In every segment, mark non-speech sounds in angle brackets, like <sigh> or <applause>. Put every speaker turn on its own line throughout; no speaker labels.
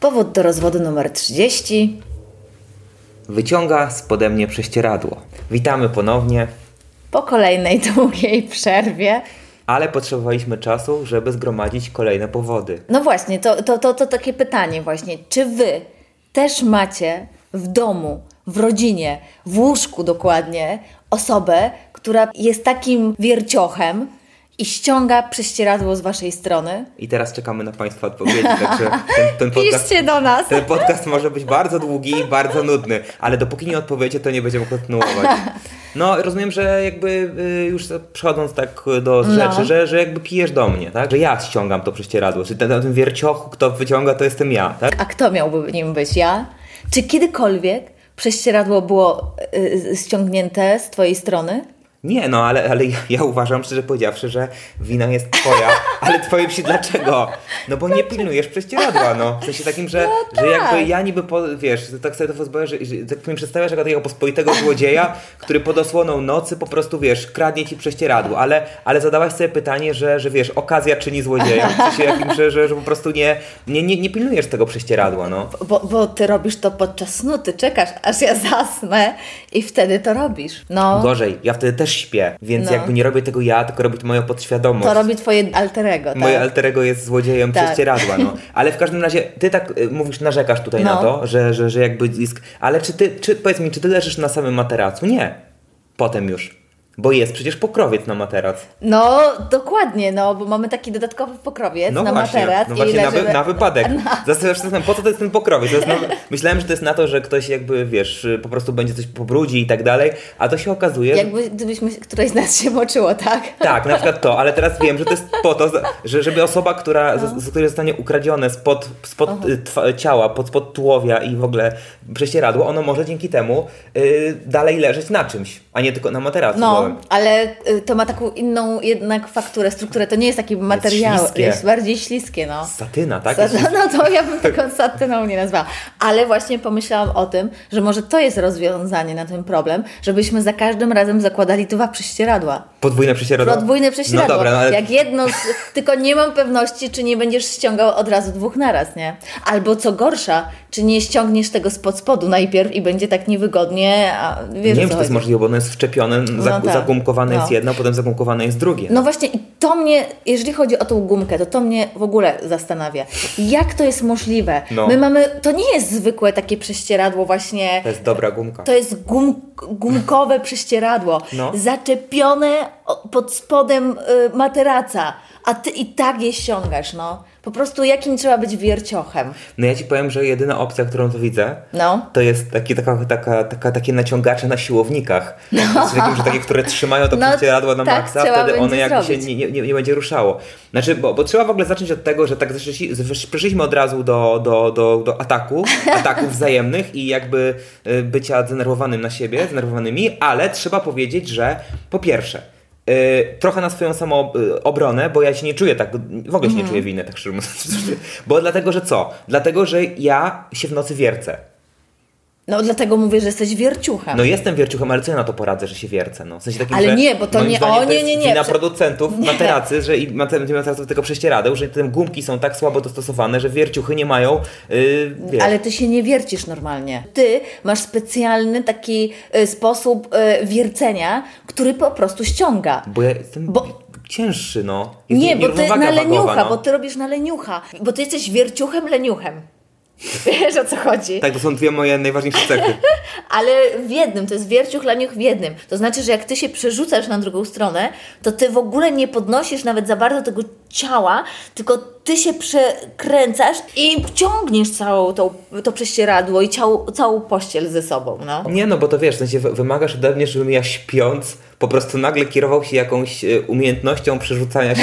Powód do rozwodu numer 30.
Wyciąga spode mnie prześcieradło. Witamy ponownie,
Po kolejnej <laughs> długiej przerwie.
ale potrzebowaliśmy czasu, żeby zgromadzić kolejne powody.
No właśnie, to, to, to, to takie pytanie właśnie. Czy wy też macie w domu, w rodzinie, w łóżku dokładnie osobę, która jest takim wierciochem i ściąga prześcieradło z waszej strony?
I teraz czekamy na Państwa odpowiedzi, także ten, ten, podcast,
Piszcie do nas!
ten podcast może być bardzo długi i bardzo nudny, ale dopóki nie odpowiecie, to nie będziemy kontynuować. No, rozumiem, że jakby y, już przechodząc tak do
No.
rzeczy, że, że jakby pijesz do mnie, tak? Że ja ściągam to prześcieradło, czy ten, tym wierciochu, kto wyciąga, to jestem ja, tak?
A kto miałby nim być? Ja? Czy kiedykolwiek prześcieradło było y, ściągnięte z twojej strony?
Nie, no ale, ale ja- ja uważam, szczerze powiedziawszy, że wina jest twoja, ale twoje psi dlaczego? No bo nie pilnujesz prześcieradła, no. W sensie takim, że,
tak.
że jakby ja niby, po, wiesz, tak sobie to pozbawiam, że, że tak mi przedstawiasz jako takiego pospolitego złodzieja, który pod osłoną nocy po prostu, wiesz, kradnie ci prześcieradło, ale, ale zadałaś sobie pytanie, że, że wiesz, okazja czyni złodzieja, w sensie jakim, że, że, że po prostu nie, nie, nie, nie pilnujesz tego prześcieradła, no.
Bo, bo ty robisz to podczas snu, ty czekasz, aż ja zasnę i wtedy to robisz. No,
Gorzej, ja wtedy też śpię, więc
No.
jakby nie robię tego ja, tylko robię to moja podświadomość.
to robi twoje alterego, tak?
Moje alterego jest złodziejem
Tak. <laughs>
prześcieradła, no. Ale w każdym razie, ty tak y, mówisz, narzekasz tutaj
No.
na to, że, że, że jakby disk... Ale czy ty, czy, powiedz mi, czy ty leżysz na samym materacu? Nie. Potem już. Bo jest przecież pokrowiec na materac.
No, dokładnie, no, bo mamy taki dodatkowy pokrowiec
No
na
właśnie,
materac
no
i
właśnie na, wy,
leżymy-
na
<laughs>
wypadek. Zastanawiam się, czasem, po co to jest ten pokrowiec? To jest na, myślałem, że to jest na to, że ktoś jakby, wiesz, y, po prostu będzie coś pobrudzi i tak dalej, a to się okazuje, że
Jakby gdybyśmy, któreś z nas się moczyło, tak?
Tak, na przykład to, ale teraz wiem, że to jest po to, że, żeby osoba, która,
No.
z, z której zostanie ukradzione spod, spod y, twa, ciała, pod, spod tułowia i w ogóle prześcieradło, ono może dzięki temu y, dalej leżeć na czymś, a nie tylko na materacu.
No,
gołym.
ale y, to ma taką inną jednak fakturę, strukturę. To nie jest taki materiał, jest,
śliskie.
bardziej śliskie, no.
Satyna, tak?
Sa- No to ja bym taką satyną nie nazwała. Ale właśnie pomyślałam o tym, że może to jest rozwiązanie na ten problem, żebyśmy za każdym razem zakładali dwa prześcieradła.
Podwójne prześcieradło.
Podwójne prześcieradło.
No dobra, no ale...
Jak jedno, z... tylko nie mam pewności, czy nie będziesz ściągał od razu dwóch naraz, nie? Albo co gorsza, czy nie ściągniesz tego spod spodu najpierw i będzie tak niewygodnie, a wiesz
Nie
o
wiem,
co
czy to jest
chodzi.
możliwe, bo ono jest wczepione, zag-
tak.
zagumkowane jest
No.
jedno, potem zagumkowane jest drugie.
No właśnie, i to mnie, jeżeli chodzi o tą gumkę, to to mnie w ogóle zastanawia. Jak to jest możliwe?
No.
My mamy, to nie jest zwykłe takie prześcieradło właśnie,
To jest dobra gumka.
to jest gum, gumkowe prześcieradło,
No.
zaczepione o- pod spodem y, materaca, a Ty i tak je ściągasz, no. Po prostu jakim trzeba być wierciochem,
No ja ci powiem, że jedyna opcja, którą tu widzę,
no.
To jest taki, taka, taka, taka, takie naciągacze na siłownikach. Z takim, że takie, które trzymają to
No,
prześcieradło na
tak
maksa,
trzeba
wtedy ono
będzie
jakby się
zrobić.
nie, nie, nie nie będzie ruszało. Znaczy, bo, bo trzeba w ogóle zacząć od tego, że tak zeszli- zesz- przeszliśmy od razu do, do, do,
<laughs>
do ataku, ataków wzajemnych i jakby y, bycia zdenerwowanym na siebie, zdenerwowanymi, ale trzeba powiedzieć, że po pierwsze, y, trochę na swoją samoobronę, bo ja się nie czuję tak, w ogóle się
Mhm.
nie czuję winy, tak szczerze mówiąc. <laughs> Bo dlatego, że co? Dlatego, że ja się w nocy wiercę.
No dlatego mówię, że jesteś wierciuchem.
No jestem wierciuchem, ale co ja na to poradzę, że się wiercę? No. W sensie takim,
Tak. Ale
że
nie, bo to
moim
nie-
zdaniem
o,
to
nie,
jest
nie, nie,
Wina
prze- <laughs>
producentów
nie.
materacy, że i mater- materaców tego prześcieradeł, że te gumki są tak słabo dostosowane, że wierciuchy nie mają. Yy, wiesz,
Ale ty się nie wiercisz normalnie. Ty masz specjalny taki y, sposób y, wiercenia, który po prostu ściąga.
Bo ja jestem
bo-
cięższy, no. Jest
Nie, bo ty
nierównowaga
na leniucha,
wagowa, no.
bo ty robisz na leniucha, bo ty jesteś wierciuchem leniuchem. <laughs> Wiesz o co chodzi.
Tak, to są dwie moje
<laughs>
najważniejsze cechy.
Ale w jednym, to jest wierciuch, leniuch w jednym. To znaczy, że jak ty się przerzucasz na drugą stronę, to ty w ogóle nie podnosisz nawet za bardzo tego ciała, tylko ty się przekręcasz i ciągniesz całą tą, to prześcieradło i ciał, całą pościel ze sobą, no.
Nie no, bo to wiesz, w sensie wy- wymagasz ode mnie, żebym ja śpiąc po prostu nagle kierował się jakąś e, umiejętnością
<laughs>
przerzucania się.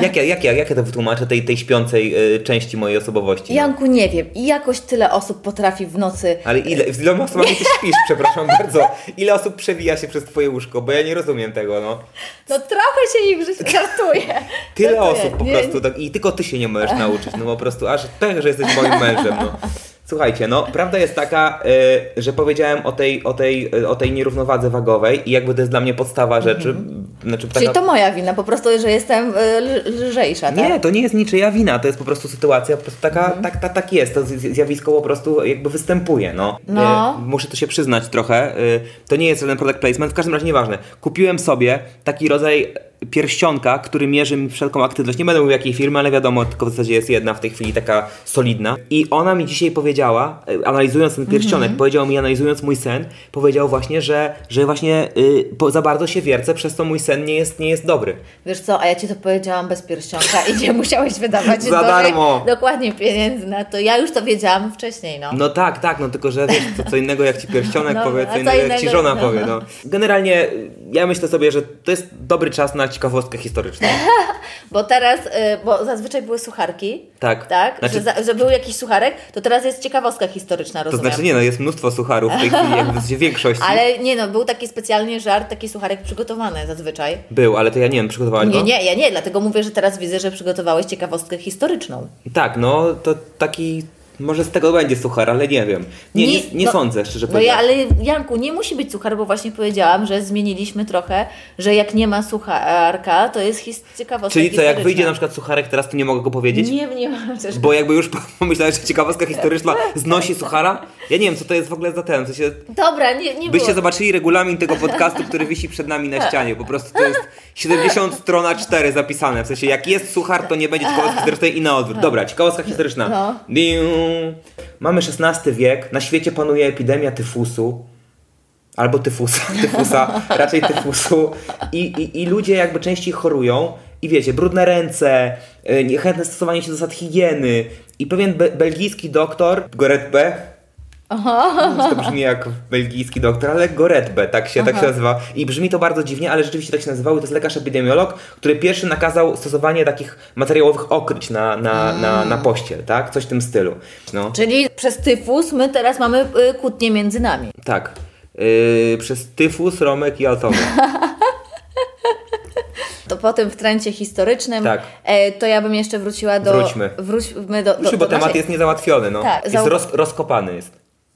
Jak ja, jak ja, jak ja to wytłumaczę tej, tej śpiącej e, części mojej osobowości? no?
Janku, nie wiem. I jakoś tyle osób potrafi w nocy...
Ale ile, z iloma osobami ty śpisz,
<laughs>
przepraszam bardzo. Ile osób przewija się przez twoje łóżko, bo ja nie rozumiem tego, no.
No trochę się ich życie żartuje.
Tyle
Żartuję.
osób
No
po
Nie-
prostu tak, i tylko ty się nie możesz nauczyć, no po prostu aż tak, że jesteś moim mężem, no. Słuchajcie, no prawda jest taka, y, że powiedziałem o tej, o, tej, y, o tej nierównowadze wagowej i jakby to jest dla mnie podstawa rzeczy. Znaczy, taka...
Mhm. Czyli to moja wina, po prostu, że jestem y, l- lżejsza, tak?
Nie, to nie jest niczyja wina, to jest po prostu sytuacja, po prostu taka, tak, tak, tak jest, to z- zjawisko po prostu jakby występuje, no.
No.
Y, muszę to się przyznać trochę, y, to nie jest żaden product placement, w każdym razie nieważne. Kupiłem sobie taki rodzaj pierścionka, który mierzy mi wszelką aktywność, nie będę mówił jakiej firmy, ale wiadomo, tylko w zasadzie jest jedna w tej chwili taka solidna. I ona mi dzisiaj powiedziała, y, analizując ten pierścionek, powiedziała mi, analizując mój sen, powiedział właśnie, że, że właśnie y, po, za bardzo się wiercę, przez to mój sen nie jest, nie jest dobry.
Wiesz co, a ja ci to powiedziałam bez pierścionka i nie musiałeś wydawać
<laughs> Za
do-
darmo.
dokładnie pieniędzy na to. Ja już to wiedziałam wcześniej, no.
No tak, tak, no tylko że wiesz, to co innego jak ci pierścionek
No,
powie,
a
co
co
innego jak ci
innego-
żona
no.
powie. No. Generalnie y, ja myślę sobie, że to jest dobry czas na ciekawostkę historyczną.
<laughs> Bo teraz, y, bo zazwyczaj były sucharki.
Tak.
Tak?
Znaczy-
Że, za, że był jakiś sucharek, to teraz jest ciekawostka historyczna,
To
rozumiem.
znaczy nie, no jest mnóstwo sucharów w tej chwili, jakby w większości
Ale nie no, był taki specjalnie żart, taki sucharek przygotowany zazwyczaj.
był, ale to ja nie wiem, przygotowałaś
Nie,
go?
nie, ja nie, dlatego mówię, że teraz widzę, że przygotowałeś ciekawostkę historyczną.
Tak, no to taki, może z tego będzie suchar, ale nie wiem. Nie, nie, nie
no-
sądzę, szczerze
No ja,
mówiąc.
ale Janku, nie musi być suchar, bo właśnie powiedziałam, że zmieniliśmy trochę, że jak nie ma sucharka, to jest his- ciekawostka
Czyli co, jak
historyczna.
wyjdzie na przykład sucharek teraz, to nie mogę go powiedzieć?
Nie, nie mam też...
Bo jakby już <laughs> pomyślałem, że ciekawostka historyczna znosi suchara? Ja nie wiem, co to jest w ogóle za ten, co się...
Dobra, nie, nie było.
Byście zobaczyli regulamin tego podcastu, który wisi przed
<laughs>
nami na ścianie. Po prostu to jest 70 strona 4 zapisane. W sensie, jak jest suchar, to nie będzie ciekawostka historycznej i na odwrót. Dobra, ciekawostka historyczna.
Tak. No.
Diu. Mamy XVI wiek, na świecie panuje epidemia tyfusu. Albo tyfusa, <laughs> tyfusa, raczej tyfusu. I, i, I ludzie jakby częściej chorują. I wiecie, brudne ręce, y, niechętne stosowanie się do zasad higieny. I pewien be belgijski doktor, Goret B., Znaczy, to brzmi jak belgijski doktor, ale Goretbe, tak się, tak się nazywa. I brzmi to bardzo dziwnie, ale rzeczywiście tak się nazywał. I to jest lekarz epidemiolog, który pierwszy nakazał stosowanie takich materiałowych okryć na, na, na, na pościel, tak? Coś w tym stylu. No,
Czyli przez tyfus my teraz mamy y, kłótnie między nami.
tak. Yy, przez tyfus, romek i altowy.
To potem w trencie historycznym,
Tak.
e, to ja bym jeszcze wróciła do...
Wróćmy.
Wróćmy do... do,
Proszę,
do
bo temat
naszej-
jest niezałatwiony, no.
No, znaczy- Tak,
jest
zau-
roz, rozkopany jest.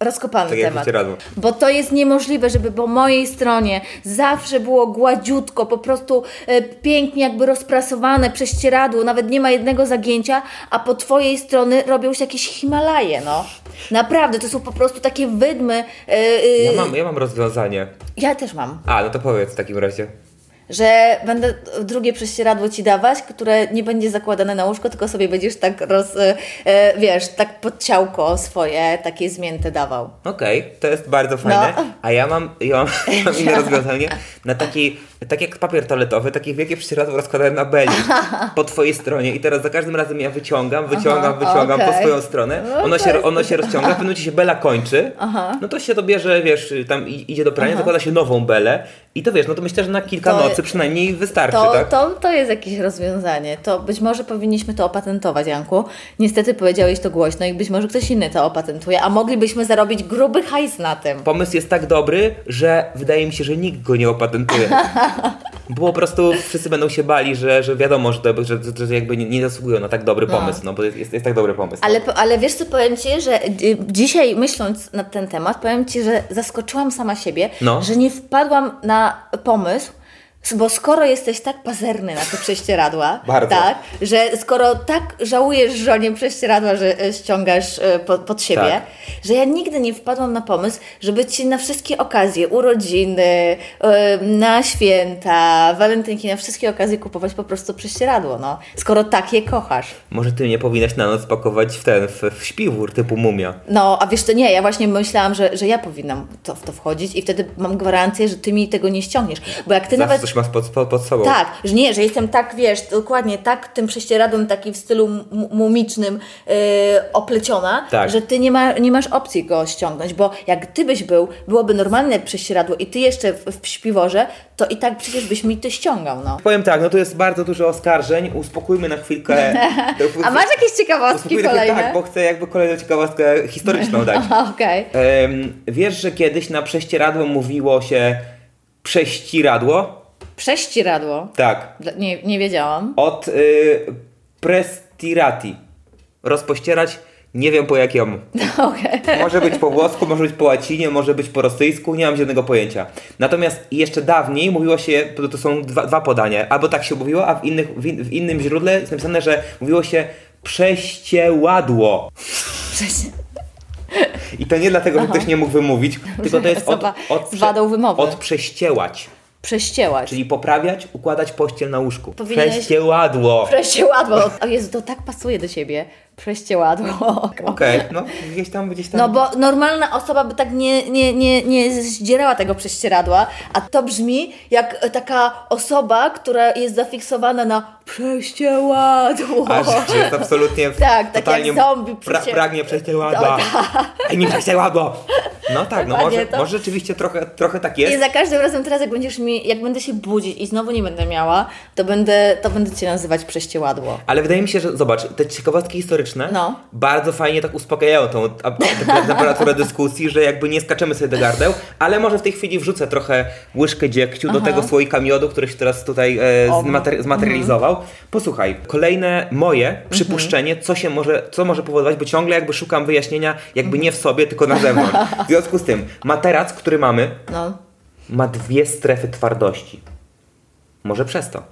Rozkopany
Tak jak
temat.
wiecie, razem.
Bo to jest niemożliwe, żeby po mojej stronie zawsze było gładziutko, po prostu e, pięknie jakby rozprasowane prześcieradło, nawet nie ma jednego zagięcia, a po twojej strony robią się jakieś Himalaje, no. Naprawdę, to są po prostu takie wydmy. e, e,
Ja mam, ja mam rozwiązanie.
ja też mam.
A, no to powiedz w takim razie.
Że będę drugie prześcieradło ci dawać, które nie będzie zakładane na łóżko, tylko sobie będziesz tak roz... e, e, wiesz, tak pod ciałko swoje takie zmięte dawał.
Okej, to jest bardzo fajne.
No.
A ja mam,
<laughs>
ja mam, mam inne rozwiązanie. Na taki, tak jak papier toaletowy, takie wielkie prześcieradło rozkładałem na beli po twojej stronie i teraz za każdym razem ja wyciągam, wyciągam,
Aha,
wyciągam po
okej.
swoją stronę.
No,
Ono
to
się,
jest-
ono się rozciąga, w pewnym momencie się bela kończy, no to się to bierze, wiesz, tam i- idzie do prania, zakłada się nową belę i to wiesz, no to myślę, że na kilka
To-
nocy przynajmniej wystarczy,
To,
tak?
to, to jest jakieś rozwiązanie. To być może powinniśmy to opatentować, Janku. Niestety powiedziałeś to głośno i być może ktoś inny to opatentuje, a moglibyśmy zarobić gruby hajs na tym.
Pomysł jest tak dobry, że wydaje mi się, że nikt go nie
<laughs>
opatentuje. Bo po prostu wszyscy będą się bali, że, że wiadomo, że, to, że, że, że jakby nie, nie zasługują na tak dobry pomysł, no bo jest, jest tak dobry pomysł.
Ale, po- ale wiesz co, powiem Ci, że y, dzisiaj myśląc nad ten temat, powiem Ci, że zaskoczyłam sama siebie,
No.
że nie wpadłam na pomysł, s- bo skoro jesteś tak pazerny na te prześcieradła,
<laughs> Bardzo.
tak, że skoro tak żałujesz żonie prześcieradła, że e, ściągasz e, po, pod siebie,
Tak.
że ja nigdy nie wpadłam na pomysł, żeby Ci na wszystkie okazje, urodziny, e, na święta, walentynki, na wszystkie okazje kupować po prostu prześcieradło, no, skoro tak je kochasz.
Może ty nie powinnaś na noc pakować w ten, w, w śpiwór typu mumia.
No, a wiesz to nie, ja właśnie myślałam, że, że ja powinnam to, w to wchodzić i wtedy mam gwarancję, że ty mi tego nie ściągniesz. Bo jak ty
Zawsze
nawet.
to coś masz pod, pod, pod sobą.
Tak, że nie, że jestem tak, wiesz, dokładnie tak tym prześcieradłem, taki w stylu mu- mumicznym yy, opleciona,
Tak.
że ty nie, ma, nie masz opcji go ściągnąć, bo jak ty byś był, byłoby normalne prześcieradło i ty jeszcze w, w śpiworze, to i tak przecież byś mi to ściągał, no.
Powiem tak, no tu jest bardzo dużo oskarżeń, uspokójmy na
<laughs>
chwilkę.
A masz jakieś ciekawostki
Uspokójmy na chwilkę,
kolejne?
tak, bo tak. chcę jakby kolejną ciekawostkę historyczną dać.
<laughs> Okej.
Em, wiesz, że kiedyś na prześcieradło mówiło się prześcieradło?
Prześcieradło.
Tak.
Dla- Nie, nie wiedziałam. <laughs>
Od y, prestirati. Rozpościerać, nie wiem po jakiemu.
Okej.
Może być po włosku, może być po łacinie, może być po rosyjsku, nie mam żadnego pojęcia. Natomiast jeszcze dawniej mówiło się, to- to są dwa, dwa podania, albo tak się mówiło, a w, innych, w, in, w innym źródle jest napisane, że mówiło się prześcieładło.
Prześci-
I to nie dlatego, że ktoś nie mógł wymówić, tylko to jest od,
Zaba-
od,
z wadą wymowy.
od prześciełać,
Prześciełaś.
czyli poprawiać, układać pościel na łóżku.
Powinieneś-
Prześcieładło.
Prześcieładło. <laughs> O Jezu, to tak pasuje do siebie. Prześcieładło.
Okej, no gdzieś tam, gdzieś tam.
No bo normalna osoba by tak nie, nie, nie, nie zdzierała tego prześcieradła, a to brzmi jak taka osoba, która jest zafiksowana na prześcieradło.
A że jest absolutnie w-
Tak, tak jak
totalnie
zombie
pra,
przecie-
pragnie prześcieładła. Ej, mi prześcieładło! No tak, no
Dokładnie
może,
to.
może rzeczywiście trochę, trochę
<laughs>
tak
I
jest.
za każdym razem teraz, jak będziesz mi, jak będę się budzić i znowu nie będę miała, to będę, to będę cię nazywać prześcieładło.
Ale wydaje mi się, że zobacz, te ciekawostki historyczne
No.
bardzo fajnie tak uspokajają tą a- tak a- temperaturę dyskusji, że jakby nie skaczemy sobie do gardeł, ale może w tej chwili wrzucę trochę łyżkę dziegciu do tego słoika miodu, który się teraz tutaj e,
O. Mhm.
zmater- zmaterializował. Posłuchaj, kolejne moje przypuszczenie, co się może, co może powodować, bo ciągle jakby szukam wyjaśnienia jakby nie w sobie, tylko na zewnątrz. W związku z tym, materac, który mamy,
No.
ma dwie strefy twardości. Może przez to.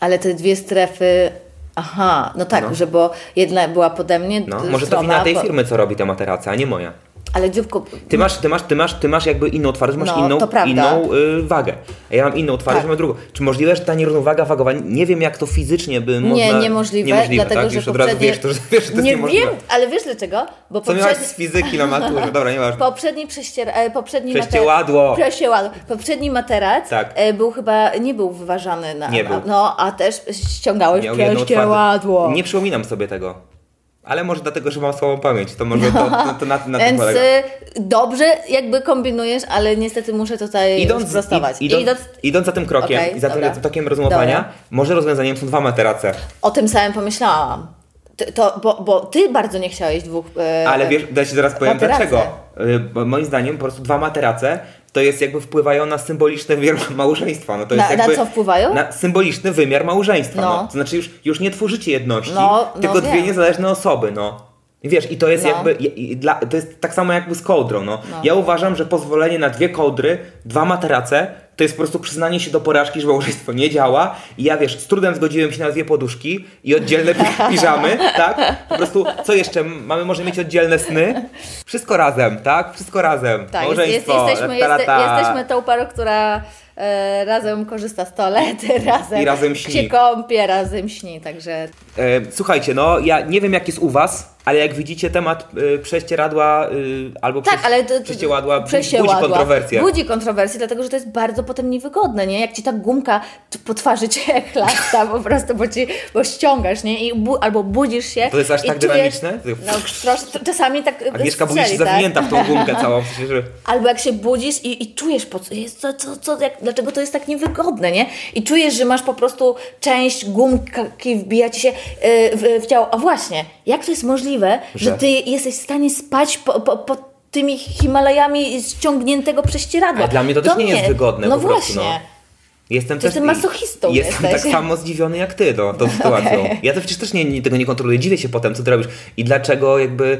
Ale te dwie strefy. Aha, no tak,
No.
że bo jedna była pode mnie.
No,
d-
może to
strona
wina tej
po-
firmy, co robi te materace, a nie moja.
Ale dzióbko.
Ty masz, ty masz, ty masz, ty masz jakby inną twardość, masz
No,
inną,
to prawda.
inną y, wagę. A ja mam inną twardość,
Tak.
mam drugą. Czy możliwe, że ta nierównowaga wagowa, nie wiem jak to fizycznie by można...
niemożliwe, dlatego,
tak?
że
Już od razu
poprzednie-
wiesz, to, że, wiesz, że to jest
nie
niemożliwe.
wiem, ale wiesz dlaczego? Bo
Co miałaś
poprzedni,
z fizyki na
<laughs>
maturze? Dobra, nieważne.
poprzedni, prześcier... e, poprzedni
Prześcieładło.
Prześcieładło. Poprzedni materac
Tak.
e, był chyba nie był wyważany na.
Nie był.
na- No, a też ściągałeś
Miał jedną
prześcieładło.
twardość. Nie przypominam sobie tego. Ale może dlatego, że mam słabą pamięć, to może to, to, to na, na tym
Więc
polega.
e, dobrze jakby kombinujesz, ale niestety muszę tutaj
Idąc,
sprostować.
id, idąc, idąc za tym krokiem
Okej,
i za tym,
dobra.
za tym tokiem rozumowania,
Dobra.
może rozwiązaniem są dwa materace.
O tym samym pomyślałam. Ty, to, bo, bo ty bardzo nie chciałeś dwóch. E,
Ale wiesz, ja ci zaraz powiem
materace.
dlaczego. Y, Bo moim zdaniem po prostu dwa materace to jest jakby wpływają na symboliczny wymiar <laughs> małżeństwa. No to
Na-
jest
na
jakby
co wpływają?
Na symboliczny wymiar małżeństwa. No.
No.
To znaczy już, już nie tworzycie jedności,
No, no
tylko dwie
wiem.
niezależne osoby, no. I Wiesz, i to jest
No.
jakby, i, i dla, to jest tak samo jakby z kołdrą, no. Ja uważam, że pozwolenie na dwie kołdry, dwa materace, to jest po prostu przyznanie się do porażki, że małżeństwo nie działa i ja, wiesz, z trudem zgodziłem się na dwie poduszki i
<laughs>
oddzielne pi- piżamy, tak? Po prostu, co jeszcze? Mamy może mieć oddzielne sny? Wszystko razem, tak? Wszystko
tak,
razem.
jest, jest,
Małżeństwo,
jesteśmy,
ta, ta,
jeste-
ta.
jesteśmy tą parą, która e, razem korzysta z toalety, <laughs> razem,
I razem śni.
się kąpie, razem śni, także tak,
E, Słuchajcie, no ja nie wiem jak jest u was, ale jak widzicie temat y, prześcieradła y, albo
Tak,
prześ-
ale to, to,
prześcieładła bu-
przesieładła.
budzi kontrowersję.
Budzi kontrowersję, dlatego że to jest bardzo potem niewygodne, nie? Jak ci ta gumka t- po twarzy <laughs> cię chlasta po prostu, bo, ci, bo ściągasz, nie? I bu, albo budzisz się.
To jest aż
i
tak
czujesz-
dynamiczne?
No, trosz, t- czasami tak. e,
Agnieszka budzi się
strzeli, tak?
zawinięta w tą gumkę całą, w sensie, że
Albo jak się budzisz i, i czujesz, po co, jest, co, co, co jak, dlaczego to jest tak niewygodne, nie? I czujesz, że masz po prostu część gumki, wbija ci się e, w, w ciało. A właśnie, jak to jest możliwe, że,
Że?
ty jesteś w stanie spać po, po, po tymi Himalajami ściągniętego prześcieradła?
A dla mnie to też nie jest wygodne
No
po prostu,
właśnie.
no. Jestem
Ty
też...
jestem masochistą
Jestem
jesteś.
tak samo zdziwiony jak ty
<laughs>
no, tą sytuacją. Ja to przecież też nie, nie, tego nie kontroluję. Dziwię się potem, co ty robisz i dlaczego jakby...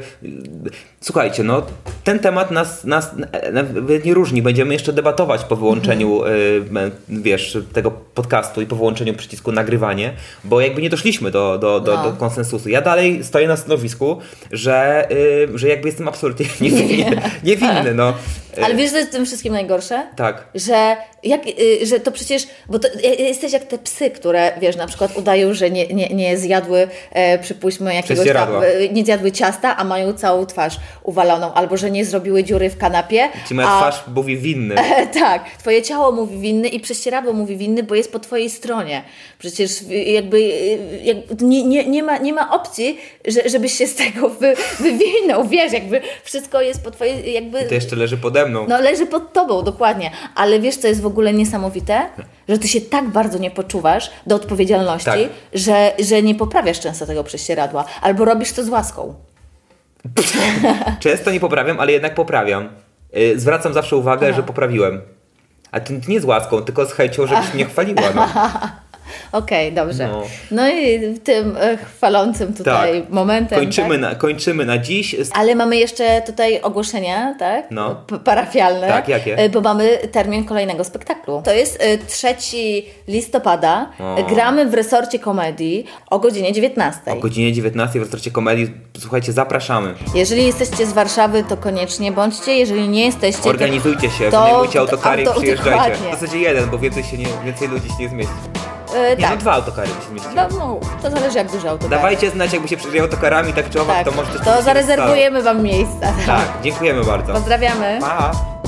Słuchajcie, no ten temat nas, nas e, nawet nie różni. Będziemy jeszcze debatować po wyłączeniu
Mhm.
y, e, wiesz, tego podcastu i po wyłączeniu przycisku nagrywanie, bo jakby nie doszliśmy do, do, do,
No.
do konsensusu. Ja dalej
<laughs>
<laughs> stoję na stanowisku, że, y, że jakby jestem absolutnie niewinny. niewinny no.
Ale wiesz, co jest w tym wszystkim najgorsze?
Tak.
Że, jak, y, że to przecież, bo to, y, jesteś jak te psy, które, wiesz, na przykład udają, że nie, nie, nie zjadły, e, przypuśćmy, jakiegoś tam,
Prześcieradła.
e, nie zjadły ciasta, a mają całą twarz uwaloną, albo że nie zrobiły dziury w kanapie.
Ci moja
a,
twarz mówi winny.
<laughs> tak, twoje ciało mówi winny i prześcieradło mówi winny, bo jest po twojej stronie. Przecież y, jakby y, jak, nie, nie, nie, ma, nie ma opcji, że, żebyś się z tego wy, wywinął, wiesz, jakby wszystko jest po twojej, jakby...
To jeszcze leży pode mną.
No leży pod tobą, dokładnie. Ale wiesz, co jest w ogóle niesamowite? Że ty się tak bardzo nie poczuwasz do odpowiedzialności,
Tak.
że, że nie poprawiasz często tego prześcieradła. Albo robisz to z łaską. <laughs>
Często nie poprawiam, ale jednak poprawiam. Y, Zwracam zawsze uwagę,
Aha.
że poprawiłem. A ty nie z łaską, tylko z chęcią, żebyś mnie chwaliła.
<laughs>
No.
Okej, dobrze. No.
No.
i tym e, chwalącym tutaj
Tak.
momentem.
Kończymy,
tak?
na, kończymy na dziś. Z-
Ale mamy jeszcze tutaj ogłoszenia, tak?
No.
P- parafialne.
Tak, jakie?
E, Bo mamy termin kolejnego spektaklu. To jest e, 3 listopada.
O.
Gramy w resorcie komedii o godzinie 19.
O godzinie 19 w Restorcie Komedii, słuchajcie, zapraszamy.
Jeżeli jesteście z Warszawy, to koniecznie bądźcie. Jeżeli nie jesteście.
Organizujcie się,
To-
wynajmujcie autokary
auto-
i przyjeżdżajcie.
dokładnie.
W zasadzie jeden, bo więcej, się nie, więcej ludzi się nie zmieści.
To, e,
Nie, no
tak.
dwa autokary by się zmieściły.
No, no, to zależy, jak duże auto.
Dawajcie znać, jakby się przyjeżdżało autokarami, tak czy owak,
tak.
to możecie...
to zarezerwujemy Wam miejsca.
Tak, dziękujemy bardzo.
Pozdrawiamy.
Pa!